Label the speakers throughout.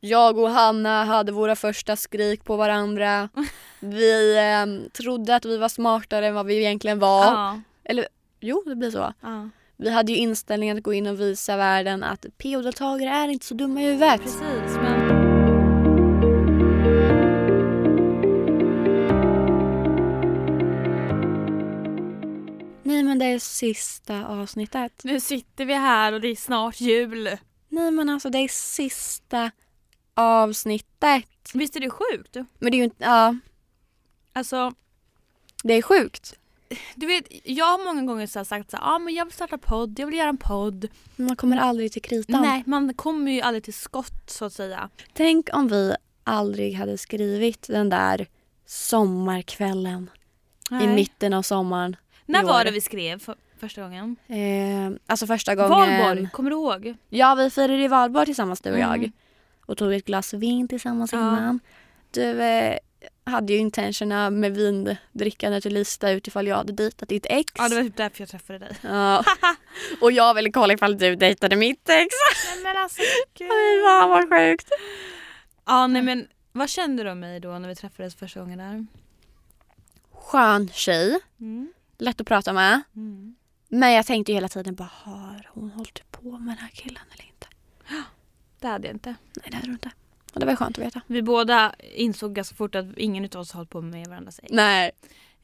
Speaker 1: Jag och Hanna hade våra första skrik på varandra. Vi eh, trodde att vi var smartare än vad vi egentligen var.
Speaker 2: Ja.
Speaker 1: Jo, det blir så.
Speaker 2: ja.
Speaker 1: Vi hade ju inställningen att gå in och visa världen att PO-deltagare är inte så dumma i huvudet.
Speaker 2: Precis, men...
Speaker 1: Nej men det är sista avsnittet.
Speaker 2: Nu sitter vi här och det är snart jul.
Speaker 1: Nej men alltså det är sista avsnittet.
Speaker 2: Visst är det sjukt?
Speaker 1: Men det är ju inte, ja.
Speaker 2: Alltså,
Speaker 1: Det är sjukt.
Speaker 2: du vet, jag har många gånger så här sagt så här, ah, men jag vill starta podd, jag vill göra en podd.
Speaker 1: Man kommer aldrig till kritan.
Speaker 2: Nej, man kommer ju aldrig till skott så att säga.
Speaker 1: Tänk om vi aldrig hade skrivit den där sommarkvällen i
Speaker 2: Nej.
Speaker 1: mitten av sommaren.
Speaker 2: När
Speaker 1: i år.
Speaker 2: var det vi skrev för första gången?
Speaker 1: Eh, alltså första gången.
Speaker 2: Valborg, kommer du ihåg?
Speaker 1: Ja, vi firade ju valborg tillsammans du och
Speaker 2: Mm.
Speaker 1: jag. Och tog ett glas vin tillsammans
Speaker 2: Ja.
Speaker 1: innan. Du eh, hade ju intentionerna med vindrickandet att lista ut ifall jag hade dejtat ditt ex.
Speaker 2: Ja, det var typ därför jag träffade dig.
Speaker 1: Ja. och jag ville kolla ifall du dejtade mitt ex.
Speaker 2: Nej men alltså
Speaker 1: Fy fan vad sjukt.
Speaker 2: Ja nej men vad kände du om mig då när vi träffades första gången där?
Speaker 1: Skön tjej,
Speaker 2: Mm.
Speaker 1: lätt att prata med. Men jag tänkte ju hela tiden bara har hon hållit på med den här killen eller inte?
Speaker 2: Det hade jag inte.
Speaker 1: Nej det hade hon inte. Och det var ju skönt att veta.
Speaker 2: Vi båda insåg ganska fort att ingen utav oss hållit på med varandras ex.
Speaker 1: Nej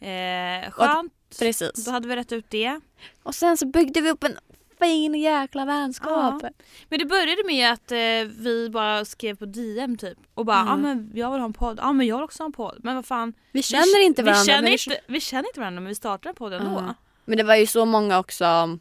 Speaker 2: Eh, skönt,
Speaker 1: precis.
Speaker 2: då hade vi rätt ut det.
Speaker 1: Och sen så byggde vi upp en fin jäkla vänskap.
Speaker 2: Ja. Men det började med att eh, vi bara skrev på DM typ och bara
Speaker 1: Mm.
Speaker 2: ja ah, men jag vill ha en podd, ja ah, men jag vill också ha en podd. Men vad fan.
Speaker 1: Vi känner inte varandra.
Speaker 2: Vi Mm. känner,
Speaker 1: men,
Speaker 2: inte, vi känner inte varandra men vi startade en podd ändå.
Speaker 1: Ja. men det var ju så många också.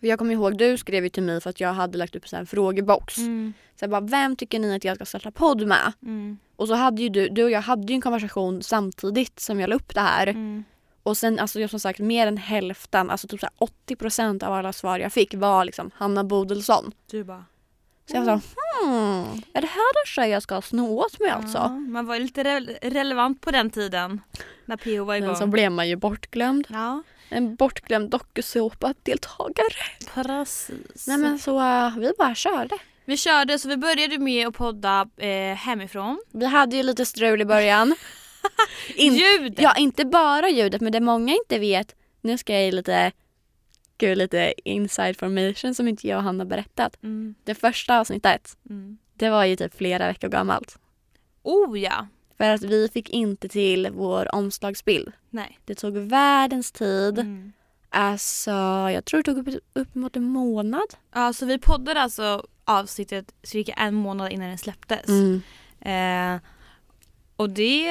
Speaker 1: för Jag kommer ihåg du skrev ju till mig för att jag hade lagt upp så här en frågebox.
Speaker 2: Mm,
Speaker 1: Så jag bara, vem tycker ni att jag ska starta podd med?
Speaker 2: mm,
Speaker 1: Och så hade ju du, du och jag hade ju en konversation samtidigt som jag la upp det här.
Speaker 2: mm.
Speaker 1: Och sen alltså jag som sagt mer än hälften, alltså typ så här 80% av alla svar jag fick var liksom Hanna Bodelsson.
Speaker 2: Du bara.
Speaker 1: Så jag
Speaker 2: Mm.
Speaker 1: var så hmm, är det här en tjej jag ska sno åt mig
Speaker 2: Ja,
Speaker 1: alltså?
Speaker 2: man var ju lite re- relevant på den tiden. När PO var igång.
Speaker 1: Men så blev man ju bortglömd.
Speaker 2: Ja,
Speaker 1: En bortglömd dokusåpa-deltagare.
Speaker 2: precis.
Speaker 1: Nej men så eh, vi bara körde.
Speaker 2: Vi körde så vi började med att podda eh, hemifrån.
Speaker 1: Vi hade ju lite strul i början. In-
Speaker 2: Ljudet!
Speaker 1: Ja, inte bara ljudet, men det många inte vet. Nu ska jag ge lite, gud, lite inside formation som inte jag och Hanna berättat.
Speaker 2: Mm,
Speaker 1: Det första avsnittet,
Speaker 2: mm.
Speaker 1: det var ju typ flera veckor gammalt.
Speaker 2: Oh ja!
Speaker 1: För att vi fick inte till vår omslagsbild.
Speaker 2: Nej.
Speaker 1: Det tog världens tid.
Speaker 2: Mm.
Speaker 1: Alltså, jag tror det tog upp, upp mot en månad.
Speaker 2: Ja, så vi poddade alltså avsnittet cirka en månad innan det släpptes.
Speaker 1: Mm.
Speaker 2: Eh, och det,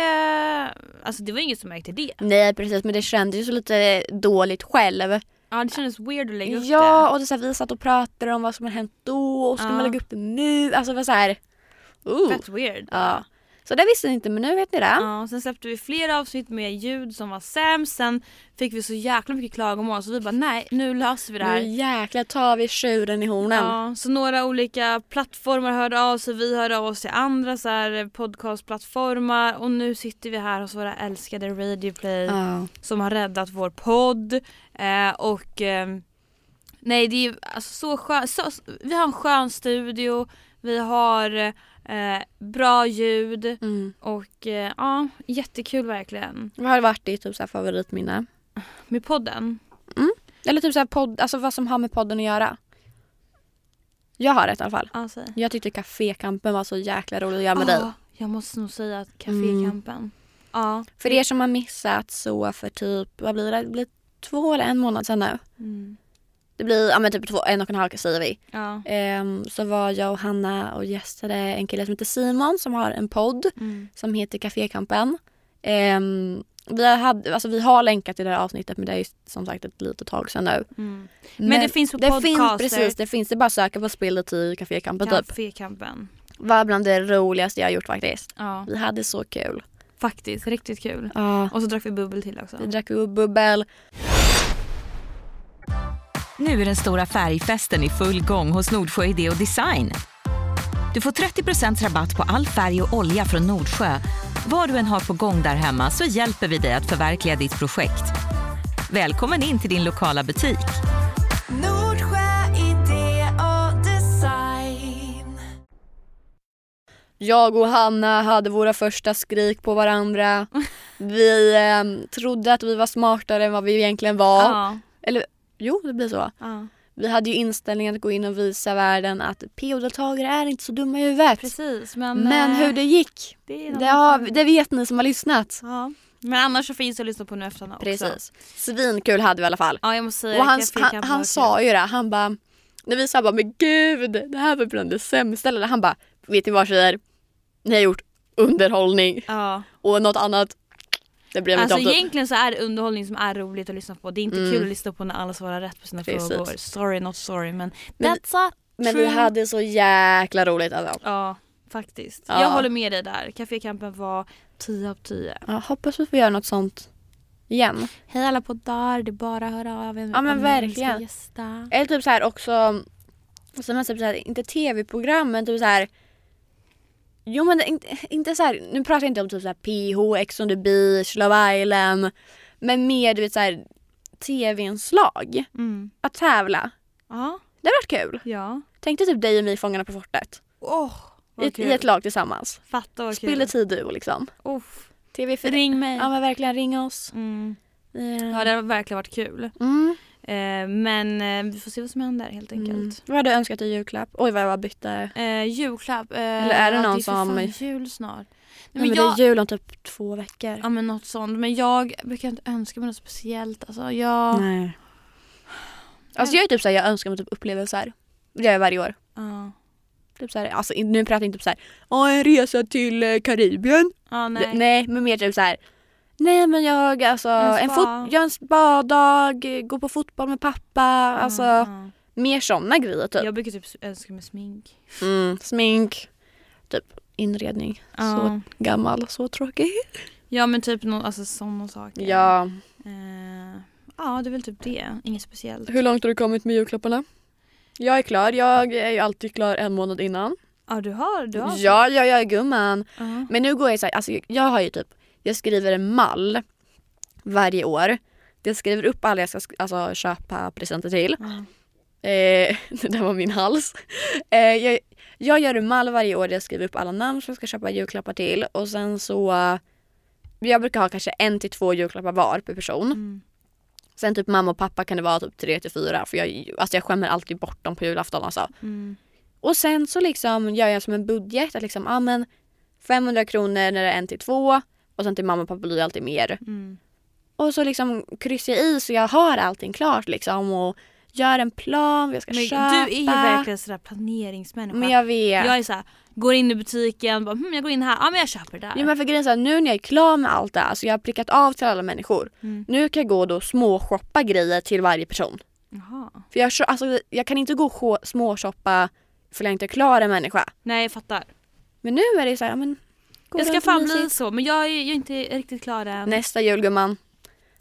Speaker 2: alltså det var ingen som märkte det.
Speaker 1: Nej, precis, men det kändes ju så lite dåligt själv.
Speaker 2: Ja det kändes weird att lägga upp
Speaker 1: Ja, och det, är så här, vi satt och pratade om vad som har hänt då och ska
Speaker 2: Ja.
Speaker 1: man lägga upp det nu? Alltså, det var så här... Oh.
Speaker 2: det. Fett weird.
Speaker 1: Ja. Så det visste ni inte, men nu vet ni det.
Speaker 2: Ja, och sen släppte vi flera avsnitt med ljud som var sämst. Sen fick vi så jäkla mycket klagomål så vi bara nej, nu löser vi det
Speaker 1: Nu
Speaker 2: här.
Speaker 1: jäklar tar vi tjuren i hornen.
Speaker 2: Ja, så några olika plattformar hörde av sig, vi hörde av oss till andra så här eh, podcastplattformar och nu sitter vi här hos våra älskade Radioplay
Speaker 1: Ja.
Speaker 2: som har räddat vår podd eh, och ehm, nej det är ju alltså så skönt, så, vi har en skön studio, vi har eh, bra ljud
Speaker 1: Mm.
Speaker 2: och eh, ja, jättekul verkligen
Speaker 1: Vad har varit ditt typ, så här, favoritminne?
Speaker 2: med podden.
Speaker 1: Eller typ så här, podd, alltså, vad som har med podden att göra? Jag har ett i alla fall.
Speaker 2: Ja, säg.
Speaker 1: Jag tyckte kafékampen var så jäkla rolig att göra med dig.
Speaker 2: Ja, Jag måste nog säga att Cafékampen.
Speaker 1: Mm.
Speaker 2: Ja.
Speaker 1: För er som har missat så för typ, vad blir det? Det blir två eller en månad sedan nu.
Speaker 2: Mm.
Speaker 1: Det blir ja, men typ två, en och en halv säger vi.
Speaker 2: Ja.
Speaker 1: Ehm, så var jag och Hanna och gästade en kille som heter Simon som har en podd.
Speaker 2: Mm.
Speaker 1: som heter Cafékampen. Ehm, vi, hade, alltså vi har länkat till det här avsnittet men det är ju som sagt ett litet tag sedan nu.
Speaker 2: Mm. Men, det finns på
Speaker 1: det finns,
Speaker 2: podcaster.
Speaker 1: precis, det finns. Det är bara att söka på Spillet i Cafékampen typ.
Speaker 2: Cafékampen.
Speaker 1: Var bland det roligaste jag har gjort faktiskt.
Speaker 2: Ja,
Speaker 1: Vi hade så kul.
Speaker 2: faktiskt. Riktigt kul.
Speaker 1: Ja.
Speaker 2: Och så drack vi bubbel till också.
Speaker 1: Vi drack ju bubbel.
Speaker 3: Nu är den stora färgfesten i full gång hos Nordsjö Idé och Design. Du får 30 rabatt på all färg och olja från Nordsjö. Vad du än har på gång där hemma så hjälper vi dig att förverkliga ditt projekt. Välkommen in till din lokala butik.
Speaker 4: Nordsjö idé och design.
Speaker 1: Jag och Hanna hade våra första skrik på varandra. Vi eh, trodde att vi var smartare än vad vi egentligen var.
Speaker 2: Ja.
Speaker 1: Jo, det blir så.
Speaker 2: ja.
Speaker 1: Vi hade ju inställningen att gå in och visa världen att PO-deltagare är inte så dumma i huvudet.
Speaker 2: Precis men...
Speaker 1: Men
Speaker 2: eh,
Speaker 1: hur det gick,
Speaker 2: det är en
Speaker 1: det,
Speaker 2: annan
Speaker 1: har,
Speaker 2: fråga.
Speaker 1: det vet ni som har lyssnat.
Speaker 2: Ja. Men annars så finns det att lyssna på nu efterhand också.
Speaker 1: Precis. Svinkul hade vi i alla fall.
Speaker 2: Ja jag måste säga
Speaker 1: Och han,
Speaker 2: Café
Speaker 1: han,
Speaker 2: Camp var
Speaker 1: han
Speaker 2: kul.
Speaker 1: sa ju det, han bara, när vi sa bara men gud det här var bland det sämsta, eller han bara vet ni vad tjejer, ni har gjort underhållning
Speaker 2: Ja.
Speaker 1: och något annat, det blev
Speaker 2: Alltså
Speaker 1: inte av.
Speaker 2: egentligen så är det underhållning som är roligt att lyssna på. Det är inte
Speaker 1: Mm.
Speaker 2: kul att lyssna på när alla svarar rätt på sina
Speaker 1: Precis.
Speaker 2: frågor. Sorry not sorry men,
Speaker 1: Men-
Speaker 2: that's a
Speaker 1: Men
Speaker 2: true.
Speaker 1: vi hade så jäkla roligt alltså.
Speaker 2: Ja faktiskt.
Speaker 1: Ja.
Speaker 2: Jag håller med dig där. Café Campen var 10 av 10.
Speaker 1: Ja, hoppas vi får göra något sånt igen.
Speaker 2: Hej alla poddar, det är bara att höra av er
Speaker 1: Ja, men
Speaker 2: om ni
Speaker 1: verkligen.
Speaker 2: önskar gästa.
Speaker 1: Eller typ så här också, som man typ så här, inte tv-program men typ så här. Jo men det- inte, inte så här, nu pratar jag inte om typ så här PH, Ex on the beach, Love Island. Men mer du vet så här tv-inslag.
Speaker 2: Mm.
Speaker 1: Att tävla.
Speaker 2: Ja.
Speaker 1: Det har varit kul.
Speaker 2: Ja.
Speaker 1: Tänkte typ dig och mig Fångarna på fortet.
Speaker 2: Åh
Speaker 1: I,
Speaker 2: vad
Speaker 1: ett-
Speaker 2: kul.
Speaker 1: I ett lag tillsammans.
Speaker 2: Fatta vad kul.
Speaker 1: Spiller tid du och liksom.
Speaker 2: Uff.
Speaker 1: TV4.
Speaker 2: Ring mig.
Speaker 1: Ja men verkligen ring oss.
Speaker 2: Mm.
Speaker 1: Vi- eh,
Speaker 2: Ja det har verkligen varit kul.
Speaker 1: Mm.
Speaker 2: Eh, men eh, vi får se vad som händer helt enkelt.
Speaker 1: Mm. Vad har du önskat i julklapp? Oj vad jag bytte.
Speaker 2: Eh, julklapp. Eh,
Speaker 1: Eller är det någon
Speaker 2: för
Speaker 1: som-
Speaker 2: fan jul snart.
Speaker 1: Nej, men
Speaker 2: jag...
Speaker 1: Det är jul om typ två veckor.
Speaker 2: Ja men något sånt. Men jag brukar inte önska mig något speciellt. Alltså jag...
Speaker 1: Nej. Alltså jag är typ såhär, jag önskar mig typ upplevelser. Det gör jag varje år.
Speaker 2: Ja.
Speaker 1: Typ såhär, alltså in- nu pratar jag inte typ såhär, ja en resa till eh, Karibien.
Speaker 2: Ja,
Speaker 1: Nej.
Speaker 2: nej.
Speaker 1: nej men mer typ såhär, nej men jag alltså,
Speaker 2: En
Speaker 1: en,
Speaker 2: spa.
Speaker 1: fot- jag har en spadag, eh, gå på fotboll med pappa.
Speaker 2: Ja,
Speaker 1: alltså
Speaker 2: ja.
Speaker 1: mer såna grejer typ.
Speaker 2: Jag brukar typ önska mig smink.
Speaker 1: Mm, smink, typ inredning.
Speaker 2: Ja.
Speaker 1: Gammal, så tråkig.
Speaker 2: Ja men typ någon, alltså sådana saker.
Speaker 1: Ja.
Speaker 2: Eh, ja det är väl typ det. Inget speciellt.
Speaker 1: Hur långt har du kommit med julklapparna? Jag är klar, jag är ju alltid klar en månad innan.
Speaker 2: Ja du har, du har.
Speaker 1: Ja, ja, ja gumman.
Speaker 2: Ja.
Speaker 1: Men nu går jag så här, alltså jag har ju typ, jag skriver en mall varje år. Jag skriver upp alla jag ska sk- alltså, köpa presenter till.
Speaker 2: Ja.
Speaker 1: Eh, det där var min hals. Eh, jag, jag gör en mall varje år där jag skriver upp alla namn som jag ska köpa julklappar till och sen så eh, jag brukar ha kanske en till två julklappar var per person.
Speaker 2: Mm.
Speaker 1: Sen typ mamma och pappa kan det vara typ tre till fyra för jag, alltså jag skämmer alltid bort dem på julafton alltså.
Speaker 2: Mm.
Speaker 1: Och sen så liksom gör jag som en budget att liksom, ja men 500 kronor när det är en till två och sen till mamma och pappa blir det alltid mer.
Speaker 2: Mm.
Speaker 1: Och så liksom kryssar jag i så jag har allting klart liksom och gör en plan vad jag ska
Speaker 2: Men
Speaker 1: köpa.
Speaker 2: du är ju verkligen sådär planeringsmänniska.
Speaker 1: Men jag vet.
Speaker 2: Jag är så här, går in i butiken, bara, hm, jag går in här, ja men jag köper det där.
Speaker 1: Jo men för grejen är så här, nu när jag är klar med allt det här så jag har prickat av till alla människor.
Speaker 2: Mm.
Speaker 1: Nu kan jag gå och då småshoppa grejer till varje person.
Speaker 2: Jaha.
Speaker 1: För jag, kö- alltså, jag kan inte gå och sho- småshoppa för jag inte är klar en människa.
Speaker 2: Nej jag fattar.
Speaker 1: Men nu är det så här, ja, men gå
Speaker 2: jag ska
Speaker 1: runt och
Speaker 2: fan
Speaker 1: mysigt.
Speaker 2: bli så men jag är, jag är inte riktigt klar än.
Speaker 1: Nästa jul gumman,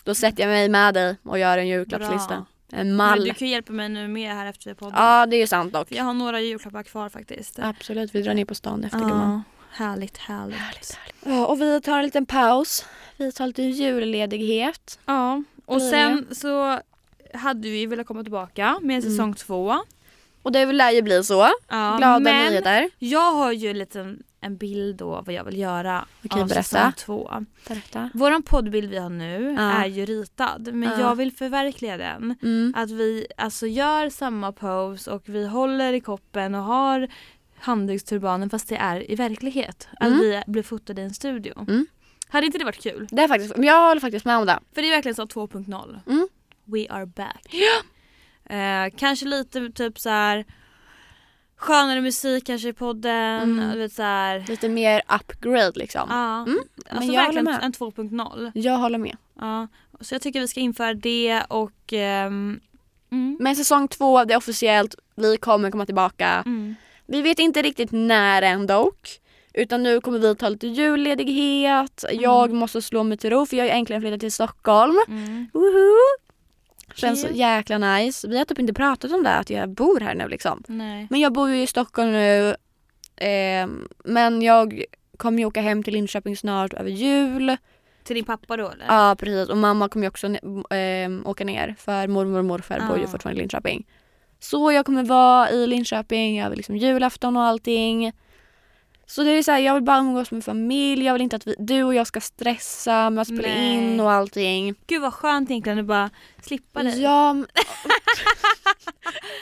Speaker 1: då sätter jag mig med dig och gör en julklappslista. En
Speaker 2: men
Speaker 1: mall.
Speaker 2: du kan ju hjälpa mig nu med här efter podden.
Speaker 1: Ja det är ju sant dock.
Speaker 2: För Jag har några julklappar kvar faktiskt.
Speaker 1: Absolut, vi drar ner på stan efter gumman.
Speaker 2: Ja, härligt, härligt.
Speaker 1: Ja, och vi tar en liten paus. Vi tar lite julledighet.
Speaker 2: Ja, och
Speaker 1: Blir
Speaker 2: sen så hade vi velat komma tillbaka med säsong två.
Speaker 1: Och det lär ju bli så.
Speaker 2: Ja,
Speaker 1: Mm. Glada
Speaker 2: men
Speaker 1: nyheter.
Speaker 2: jag har ju en liten en bild då vad jag vill göra
Speaker 1: Okej,
Speaker 2: av
Speaker 1: berätta.
Speaker 2: säsong två.
Speaker 1: Berätta.
Speaker 2: Våran poddbild vi har nu
Speaker 1: Ja.
Speaker 2: är ju ritad men
Speaker 1: Ja.
Speaker 2: jag vill förverkliga den.
Speaker 1: Mm.
Speaker 2: Att vi alltså gör samma pose och vi håller i koppen och har handduksturbanen fast det är i verklighet. Att
Speaker 1: Mm.
Speaker 2: vi blir fotade i en studio.
Speaker 1: Mm.
Speaker 2: Hade inte det varit kul?
Speaker 1: Det är faktiskt, men jag håller faktiskt med om det.
Speaker 2: För det är verkligen så 2.0.
Speaker 1: Mm.
Speaker 2: We are back. Eh, kanske lite typ så här skönare musik kanske i podden.
Speaker 1: Mm.
Speaker 2: Du vet, så här,
Speaker 1: Lite mer upgrade liksom.
Speaker 2: ja.
Speaker 1: Mm.
Speaker 2: Alltså
Speaker 1: jag
Speaker 2: verkligen
Speaker 1: håller med.
Speaker 2: en 2.0.
Speaker 1: Jag håller med.
Speaker 2: Ja, så jag tycker vi ska införa det och... ehm, mm.
Speaker 1: Men säsong två, det är officiellt. Vi kommer komma tillbaka.
Speaker 2: Mm.
Speaker 1: Vi vet inte riktigt när än dock. Utan nu kommer vi ta lite julledighet. Jag måste slå mig till ro för jag har äntligen flyttat till Stockholm.
Speaker 2: Mm.
Speaker 1: Woho! Känns så
Speaker 2: Cute.
Speaker 1: jäkla nice. Vi har typ inte pratat om det att jag bor här nu liksom.
Speaker 2: Nej.
Speaker 1: Men jag bor ju i Stockholm nu. Ehm, men jag kommer ju åka hem till Linköping snart över jul.
Speaker 2: Till din pappa då eller?
Speaker 1: Ja precis och mamma kommer ju också ne- ehm, åka ner för mormor och morfar bor ju
Speaker 2: Ja.
Speaker 1: fortfarande i Linköping. Så jag kommer vara i Linköping över liksom julafton och allting. Så det är så här, jag vill bara umgås med familj, jag vill inte att vi, du och jag ska stressa med att spela
Speaker 2: Nej.
Speaker 1: in och allting.
Speaker 2: Gud vad skönt egentligen att bara slippa dig.
Speaker 1: Ja, men...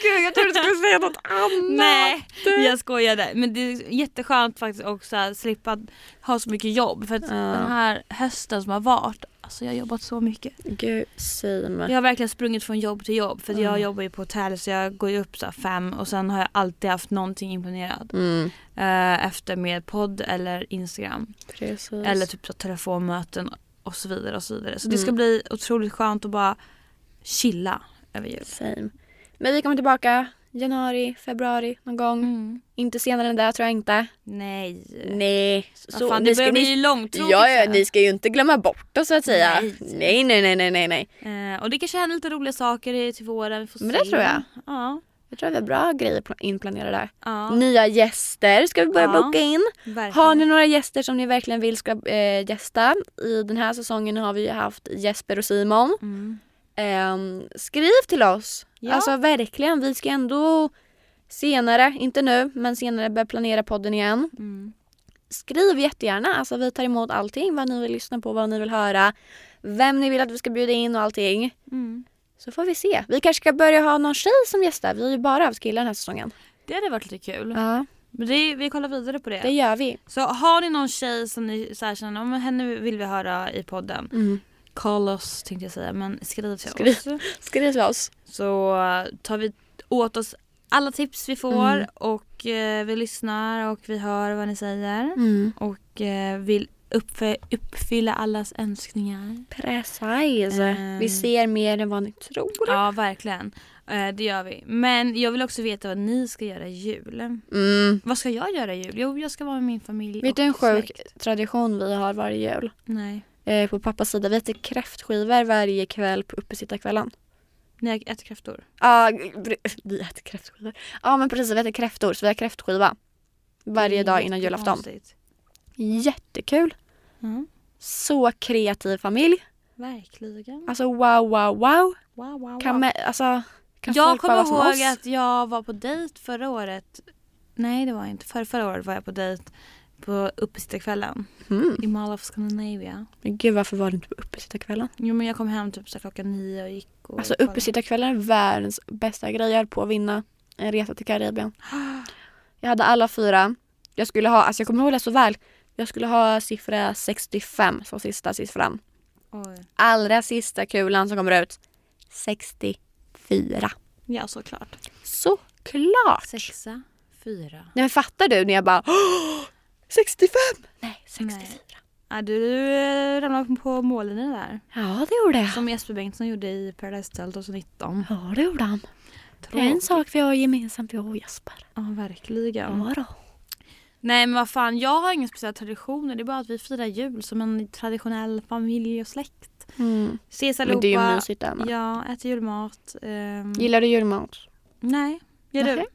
Speaker 1: Gud jag trodde du skulle säga något annat.
Speaker 2: Nej jag skojade men det är jätteskönt faktiskt också att slippa ha så mycket jobb för att
Speaker 1: Ja.
Speaker 2: den här hösten som har varit, alltså jag har jobbat så mycket.
Speaker 1: Gud same.
Speaker 2: Jag har verkligen sprungit från jobb till jobb för att jag
Speaker 1: Ja.
Speaker 2: jobbar ju på hotell så jag går ju upp så här fem och sen har jag alltid haft någonting imponerad.
Speaker 1: Mm,
Speaker 2: Eh, efter med podd eller instagram
Speaker 1: precis.
Speaker 2: eller typ så telefonmöten och så vidare och så vidare. Så det ska
Speaker 1: Mm.
Speaker 2: bli otroligt skönt att bara chilla över jul.
Speaker 1: Same. Men vi kommer tillbaka januari, februari någon gång.
Speaker 2: Mm.
Speaker 1: Inte senare än det tror jag inte.
Speaker 2: Nej.
Speaker 1: Nej.
Speaker 2: Vad fan, det börjar bli långtråkigt.
Speaker 1: Ja, ja,
Speaker 2: sen.
Speaker 1: ni ska ju inte glömma bort oss så att säga.
Speaker 2: Nej.
Speaker 1: Nej, nej, nej, nej, nej. nej.
Speaker 2: Eh, och det kanske händer lite roliga saker i- till våren. Vi får
Speaker 1: Men
Speaker 2: se.
Speaker 1: det tror jag.
Speaker 2: Ja.
Speaker 1: Jag tror att vi har bra grejer pla- inplanerade där.
Speaker 2: ja
Speaker 1: Nya gäster ska vi börja
Speaker 2: Ja,
Speaker 1: boka in.
Speaker 2: verkligen.
Speaker 1: Mm. Har ni några gäster som ni verkligen vill ska eh, gästa? I den här säsongen har vi ju haft Jesper och Simon.
Speaker 2: Mm.
Speaker 1: Ehm, skriv till oss!
Speaker 2: Ja.
Speaker 1: Alltså verkligen, vi ska ändå senare, inte nu, men senare börja planera podden igen.
Speaker 2: Mm.
Speaker 1: Skriv jättegärna, alltså vi tar emot allting, vad ni vill lyssna på, vad ni vill höra, vem ni vill att vi ska bjuda in och allting.
Speaker 2: Mm.
Speaker 1: Så får vi se. Vi kanske ska börja ha någon tjej som gästar, vi har ju bara haft killar den här säsongen.
Speaker 2: Det hade varit lite kul.
Speaker 1: Ja,
Speaker 2: Men det, vi kollar vidare på det.
Speaker 1: det gör vi.
Speaker 2: Så har ni någon tjej som ni så här känner om henne vill vi höra i podden.
Speaker 1: Mm.
Speaker 2: Call oss tänkte jag säga men skriv till
Speaker 1: Skriv.
Speaker 2: oss.
Speaker 1: Skriv till oss.
Speaker 2: Så eh, tar vi åt oss alla tips vi får
Speaker 1: Mm.
Speaker 2: och eh, vi lyssnar och vi hör vad ni säger.
Speaker 1: Mm.
Speaker 2: Och eh, vill uppfä- uppfylla allas önskningar.
Speaker 1: Precis.
Speaker 2: Eh.
Speaker 1: Vi ser mer än vad ni tror.
Speaker 2: Ja, verkligen. Eh, Det gör vi. Men jag vill också veta vad ni ska göra i jul.
Speaker 1: Mm.
Speaker 2: Vad ska jag göra i jul? Jo, jag ska vara med min familj
Speaker 1: Vet du
Speaker 2: och
Speaker 1: en sjuk
Speaker 2: släkt.
Speaker 1: tradition vi har varje jul?
Speaker 2: Nej.
Speaker 1: Eh, på pappas sida, vi äter kräftskivor varje kväll på uppesittarkvällen.
Speaker 2: Ni äter kräftor?
Speaker 1: Ja, vi äter kräftskivor. Ja men precis, vi äter kräftor så vi har kräftskiva. Varje dag innan julafton.
Speaker 2: Jättekonstigt.
Speaker 1: Jättekul.
Speaker 2: Mm.
Speaker 1: Så kreativ familj.
Speaker 2: Verkligen.
Speaker 1: Alltså wow, wow, wow.
Speaker 2: Wow, wow, wow.
Speaker 1: Kan, me- alltså, kan
Speaker 2: jag
Speaker 1: folk bara
Speaker 2: kommer
Speaker 1: vara som
Speaker 2: ihåg
Speaker 1: oss?
Speaker 2: att jag var på dejt förra året. Nej, det var jag inte. För, förra året var jag på dejt på uppesittarkvällen
Speaker 1: Mm.
Speaker 2: i Mall of Scandinavia.
Speaker 1: Men gud varför var du inte på uppesittarkvällen?
Speaker 2: Jo, men jag kom hem typ så här klockan nio och gick och...
Speaker 1: Alltså uppesittarkvällen är världens bästa grej. Jag höll på att vinna en resa till Karibien. Jag hade alla fyra. Jag skulle ha, alltså jag kommer ihåg det så väl. Jag skulle ha siffra 65 som sista siffran.
Speaker 2: Oj.
Speaker 1: Allra sista kulan som kommer ut. 64.
Speaker 2: Ja, såklart.
Speaker 1: Såklart!
Speaker 2: Sexa, fyra.
Speaker 1: Nej men fattar du när jag bara "Åh, 65! Nej, 64.
Speaker 2: Nej. Ja, du eh, ramlade på mållinjen där.
Speaker 1: Ja det gjorde jag.
Speaker 2: Som Jesper Bengtsson gjorde i Paradise Hotel 2019.
Speaker 1: Ja det gjorde han. Det är en
Speaker 2: Tråkigt.
Speaker 1: sak vi har Mm. gemensamt jag och Jesper.
Speaker 2: Ja, verkligen.
Speaker 1: Ja då.
Speaker 2: Nej men vad fan, jag har inga speciella traditioner. Det är bara att vi firar jul som en traditionell familj och släkt.
Speaker 1: Mm.
Speaker 2: Ses
Speaker 1: Men det är ju
Speaker 2: allihopa.
Speaker 1: mysigt där med.
Speaker 2: Ja, äter julmat. ehm,
Speaker 1: Gillar du julmat?
Speaker 2: Nej. Gör du?
Speaker 1: Nähä.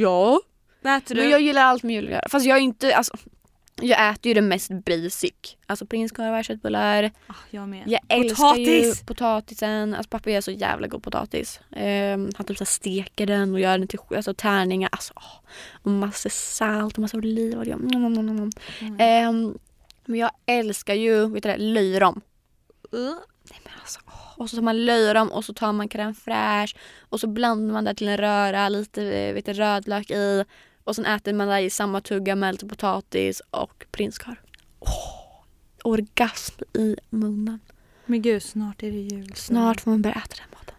Speaker 1: Ja.
Speaker 2: Vad äter du?
Speaker 1: Men jag gillar allt med julgran. Fast jag är inte, alltså. Jag äter ju det mest basic. Alltså prinskorvar, köttbullar.
Speaker 2: Ah, jag med.
Speaker 1: Jag älskar
Speaker 2: Potatis!
Speaker 1: ju potatisen. Alltså pappa gör så jävla god potatis. Ehm, han typ så här steker den och gör den till alltså, tärningar. Alltså, åh. och massa salt och massa olivolja. Mm, mm, mm, mm.
Speaker 2: Mm.
Speaker 1: Ehm, men jag älskar ju vet du det, löjrom.
Speaker 2: Uh,
Speaker 1: Nej, men alltså, åh. och så tar man löjrom och så tar man crème fraîche och så blandar man det till en röra, lite eh, vet du, rödlök i och sen äter man det i samma tugga med lite potatis och prinskorv. Åh, orgasm i munnen.
Speaker 2: Men gud, snart är det jul.
Speaker 1: Snart får man börja äta den maten.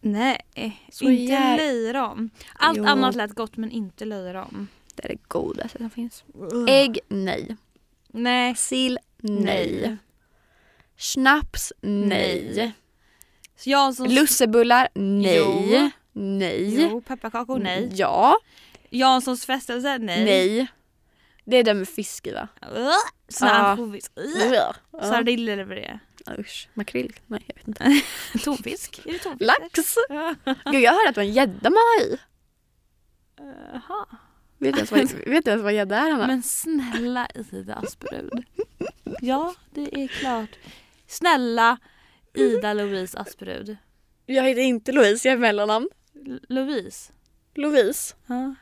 Speaker 2: Nej,
Speaker 1: Så
Speaker 2: inte
Speaker 1: jä-
Speaker 2: löjrom. Allt
Speaker 1: Jo.
Speaker 2: annat lät gott men inte löjrom.
Speaker 1: Det är det godaste som finns.
Speaker 2: Uh.
Speaker 1: Ägg, nej.
Speaker 2: Nej.
Speaker 1: Mm. Sill, nej. Schnaps, nej.
Speaker 2: Nej. Så jag har en sån...
Speaker 1: Lussebullar, nej.
Speaker 2: Jo.
Speaker 1: Nej.
Speaker 2: Jo, pepparkakor nej.
Speaker 1: Ja,
Speaker 2: Janssons frestelse nej.
Speaker 1: nej. Det är det med fisk i va?
Speaker 2: Uh, Snabbsjovis. Uh.
Speaker 1: Ja.
Speaker 2: Sardiller eller vad det är.
Speaker 1: Usch, makrill? Nej jag vet inte.
Speaker 2: Tonfisk? Är det tonfisk?
Speaker 1: Lax?
Speaker 2: Ja.
Speaker 1: Gud jag hörde att det var en gädda man har i.
Speaker 2: Jaha.
Speaker 1: Vet du ens vad- vet du ens vad gädda är Hanna?
Speaker 2: Men snälla Ida Asperud. Ja, det är klart. Snälla Ida Louise Asperud.
Speaker 1: Jag heter inte Louise, jag är mellannamn.
Speaker 2: L- Louise?
Speaker 1: Louise?
Speaker 2: Ja.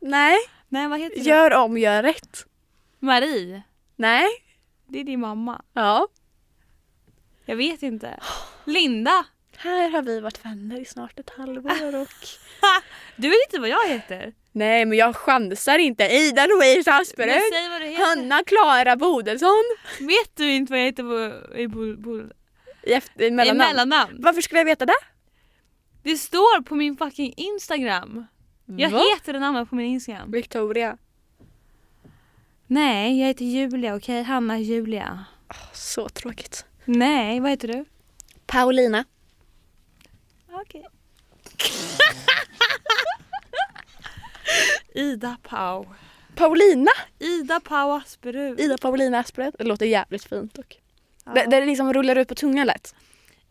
Speaker 1: Nej.
Speaker 2: Nej vad heter det?
Speaker 1: Gör om, gör rätt.
Speaker 2: Marie.
Speaker 1: Nej.
Speaker 2: Det är din mamma.
Speaker 1: Ja.
Speaker 2: Jag vet inte. Linda.
Speaker 1: Här har vi varit vänner i snart ett halvår och...
Speaker 2: Du vet inte vad jag heter.
Speaker 1: Nej men jag chansar inte. Ida Louise
Speaker 2: Men
Speaker 1: Asperud.
Speaker 2: säg vad du heter.
Speaker 1: Hanna Klara Bodelsson.
Speaker 2: Vet du inte vad jag heter på, i, bo, bo,
Speaker 1: I, efter, i
Speaker 2: mellannamn.
Speaker 1: mellannamn.
Speaker 2: i mellannamn?
Speaker 1: Varför skulle jag veta det?
Speaker 2: Det står på min fucking Instagram. Jag
Speaker 1: Va?
Speaker 2: heter det namnet på min Instagram.
Speaker 1: Victoria.
Speaker 2: Nej, jag heter Julia, okej? Hanna Julia.
Speaker 1: Så tråkigt.
Speaker 2: Nej, vad heter du?
Speaker 1: Paulina.
Speaker 2: Okej. Ida Pau.
Speaker 1: Paulina!
Speaker 2: Ida Pau Asperud.
Speaker 1: Ida Paulina Asperud. Det låter jävligt fint dock.
Speaker 2: Ja.
Speaker 1: Det, det liksom rullar ut på tungan lätt.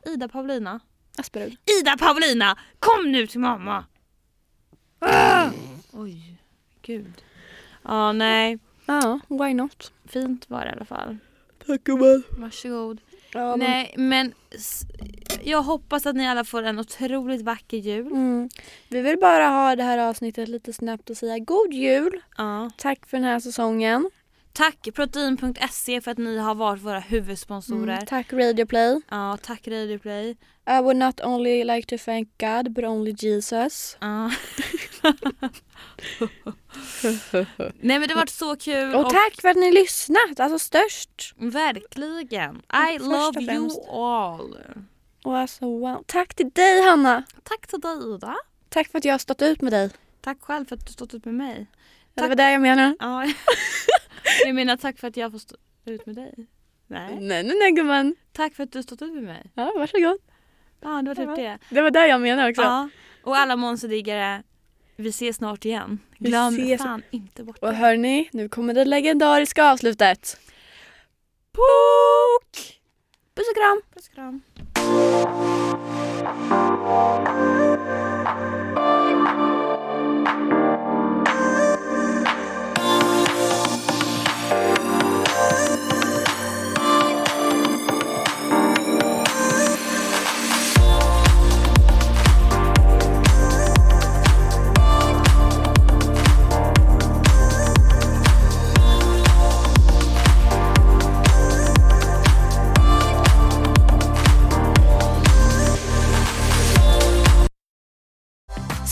Speaker 2: Ida Paulina.
Speaker 1: Asperud.
Speaker 2: Ida Paulina! Kom nu till mamma! Ah! Oj, gud. Ja, nej.
Speaker 1: Ja, why not?
Speaker 2: Fint var det i alla fall.
Speaker 1: Tack gumman.
Speaker 2: Varsågod.
Speaker 1: Ja, men-
Speaker 2: Nej, men s- jag hoppas att ni alla får en otroligt vacker jul.
Speaker 1: Mm. Vi vill bara ha det här avsnittet lite snabbt och säga god jul.
Speaker 2: Ja.
Speaker 1: Tack för den här säsongen.
Speaker 2: Tack protein.se E för att ni har varit våra huvudsponsorer.
Speaker 1: Mm, tack Radio Play.
Speaker 2: Ja, tack Radio Play.
Speaker 1: I would not only like to thank God but only Jesus.
Speaker 2: Ja. Nej men det har varit så kul.
Speaker 1: och tack för att ni lyssnat, alltså störst.
Speaker 2: Verkligen. I
Speaker 1: Först och
Speaker 2: love you
Speaker 1: främst.
Speaker 2: all.
Speaker 1: Och alltså wow. Tack till dig Hanna.
Speaker 2: Tack till dig Ida.
Speaker 1: Tack för att jag har stått ut med dig.
Speaker 2: Tack själv för att du stått ut med mig.
Speaker 1: Det
Speaker 2: Tack.
Speaker 1: var det jag menade.
Speaker 2: Ja. jag menar tack för att jag får stå ut med dig. Nej.
Speaker 1: Nej nej nej gumman.
Speaker 2: Tack för att du stått ut med mig.
Speaker 1: Ja varsågod.
Speaker 2: Ja det var typ
Speaker 1: Ja.
Speaker 2: det.
Speaker 1: Det var det jag menade också.
Speaker 2: Ja. Och alla Månsediggare. Vi ses snart igen.
Speaker 1: Vi
Speaker 2: Glöm
Speaker 1: ses.
Speaker 2: fan inte bort
Speaker 1: Och
Speaker 2: det.
Speaker 1: hörni, nu kommer det legendariska avslutet.
Speaker 2: Pok!
Speaker 1: Puss och kram.
Speaker 2: Puss och kram.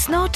Speaker 3: Snart